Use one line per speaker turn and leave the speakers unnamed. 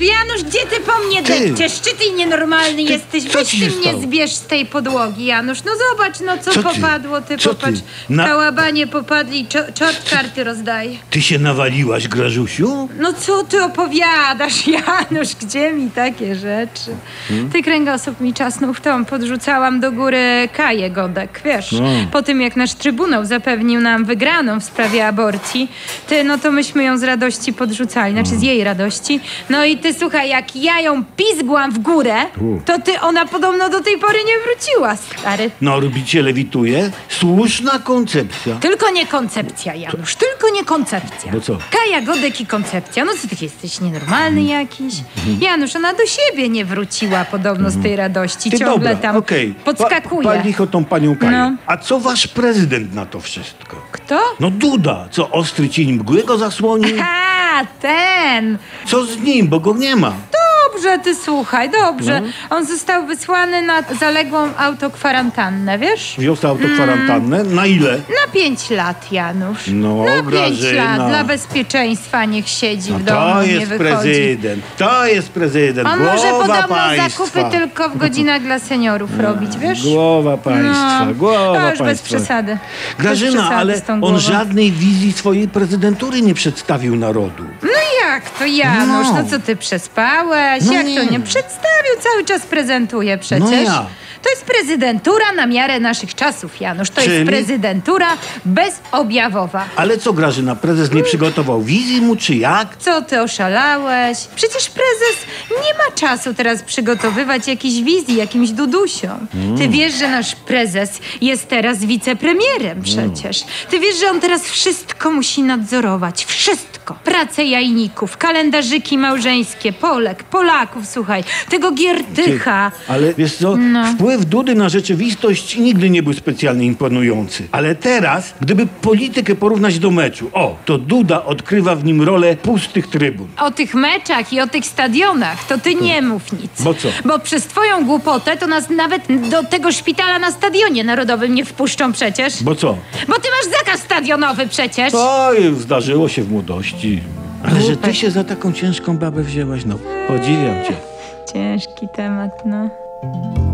Janusz, gdzie ty po mnie
Ty!
depczesz? Czy ty nienormalny jesteś?
co
Weź
ci
ty
się
mnie
stało?
zbierz z tej podłogi, Janusz. No zobacz, no co,
Co ty?
popadło, ty
Co ty?
popatrz.
Na-
Kałabanie popadli, czo- czot karty rozdaj.
Ty się nawaliłaś, Grażusiu?
No co ty opowiadasz, Janusz? Gdzie mi takie rzeczy? Ty kręgosłup mi czasnął w tom. Podrzucałam do góry Kaję Godek, wiesz? Po tym, jak nasz Trybunał zapewnił nam wygraną w sprawie aborcji, ty, no to myśmy ją z radości podrzucali, znaczy z jej radości. No i ty, słuchaj, jak ja ją pizgłam w górę, to ty, ona podobno do tej pory nie wróciła, stary.
Na orbicie lewituje? No, Słuszna koncepcja.
Tylko nie koncepcja, Janusz, tylko nie koncepcja.
Bo No co?
Kaja Godek i koncepcja. No co ty jesteś nienormalny
Mhm.
jakiś? Janusz, ona do siebie nie wróciła podobno z tej radości.
Mhm. Ty
Ciągle
dobra,
tam
okej.
podskakuje.
Pa, pani o tą panią Kaję.
No.
A co wasz prezydent na to wszystko?
Kto?
No Duda, co ostry cień mgły go zasłonił?
A, ten!
Co z nim, bo go nie ma?
Dobrze, ty słuchaj, dobrze.
No.
On został wysłany na zaległą autokwarantannę, wiesz?
Wziął sobie autokwarantannę. Na ile?
Mm. Na pięć lat, Janusz.
No,
na pięć
Grażyna.
lat. Dla bezpieczeństwa niech siedzi w domu,
to
nie
jest
wychodzi.
prezydent, to jest prezydent,
On
głowa
może podobno
państwa.
zakupy tylko w godzinach dla seniorów robić, wiesz? No.
Głowa państwa, głowa
to już bez
państwa.
przesady. bez
Grażyna,
przesady
ale
z tą głową.
on żadnej wizji swojej prezydentury nie przedstawił narodu.
No jak to, Janusz? No,
No.
co ty przespałeś?
No
jak to
nie.
nie przedstawił? Cały czas prezentuje przecież.
No ja.
To jest prezydentura na miarę naszych czasów, Janusz. To
Czyli?
jest prezydentura bezobjawowa.
Ale co Grażyna, prezes nie przygotował wizji mu czy jak?
Co ty oszalałeś? Przecież prezes nie ma czasu teraz przygotowywać jakichś wizji jakimś dudusiom.
Mm.
Ty wiesz, że nasz prezes jest teraz
Mm.
wicepremierem przecież. Ty wiesz, że on teraz wszystko musi nadzorować. Wszystko. Pracę jajników, kalendarzyki małżeńskie, Polek, Polaków, słuchaj, tego Giertycha.
Ale wiesz co, wpływ Dudy na rzeczywistość nigdy nie był specjalnie imponujący. Ale teraz, gdyby politykę porównać do meczu, o, to Duda odkrywa w nim rolę pustych trybun.
O tych meczach i o tych stadionach to ty nie mów nic.
Mm. Bo co?
Bo przez twoją głupotę to nas nawet do tego szpitala na stadionie narodowym nie wpuszczą przecież.
Bo co?
Bo ty masz zakaz stadionowy przecież.
Oj, zdarzyło się w młodości. Ale że ty się za taką ciężką babę wzięłaś, no podziwiam cię.
Ciężki temat, no.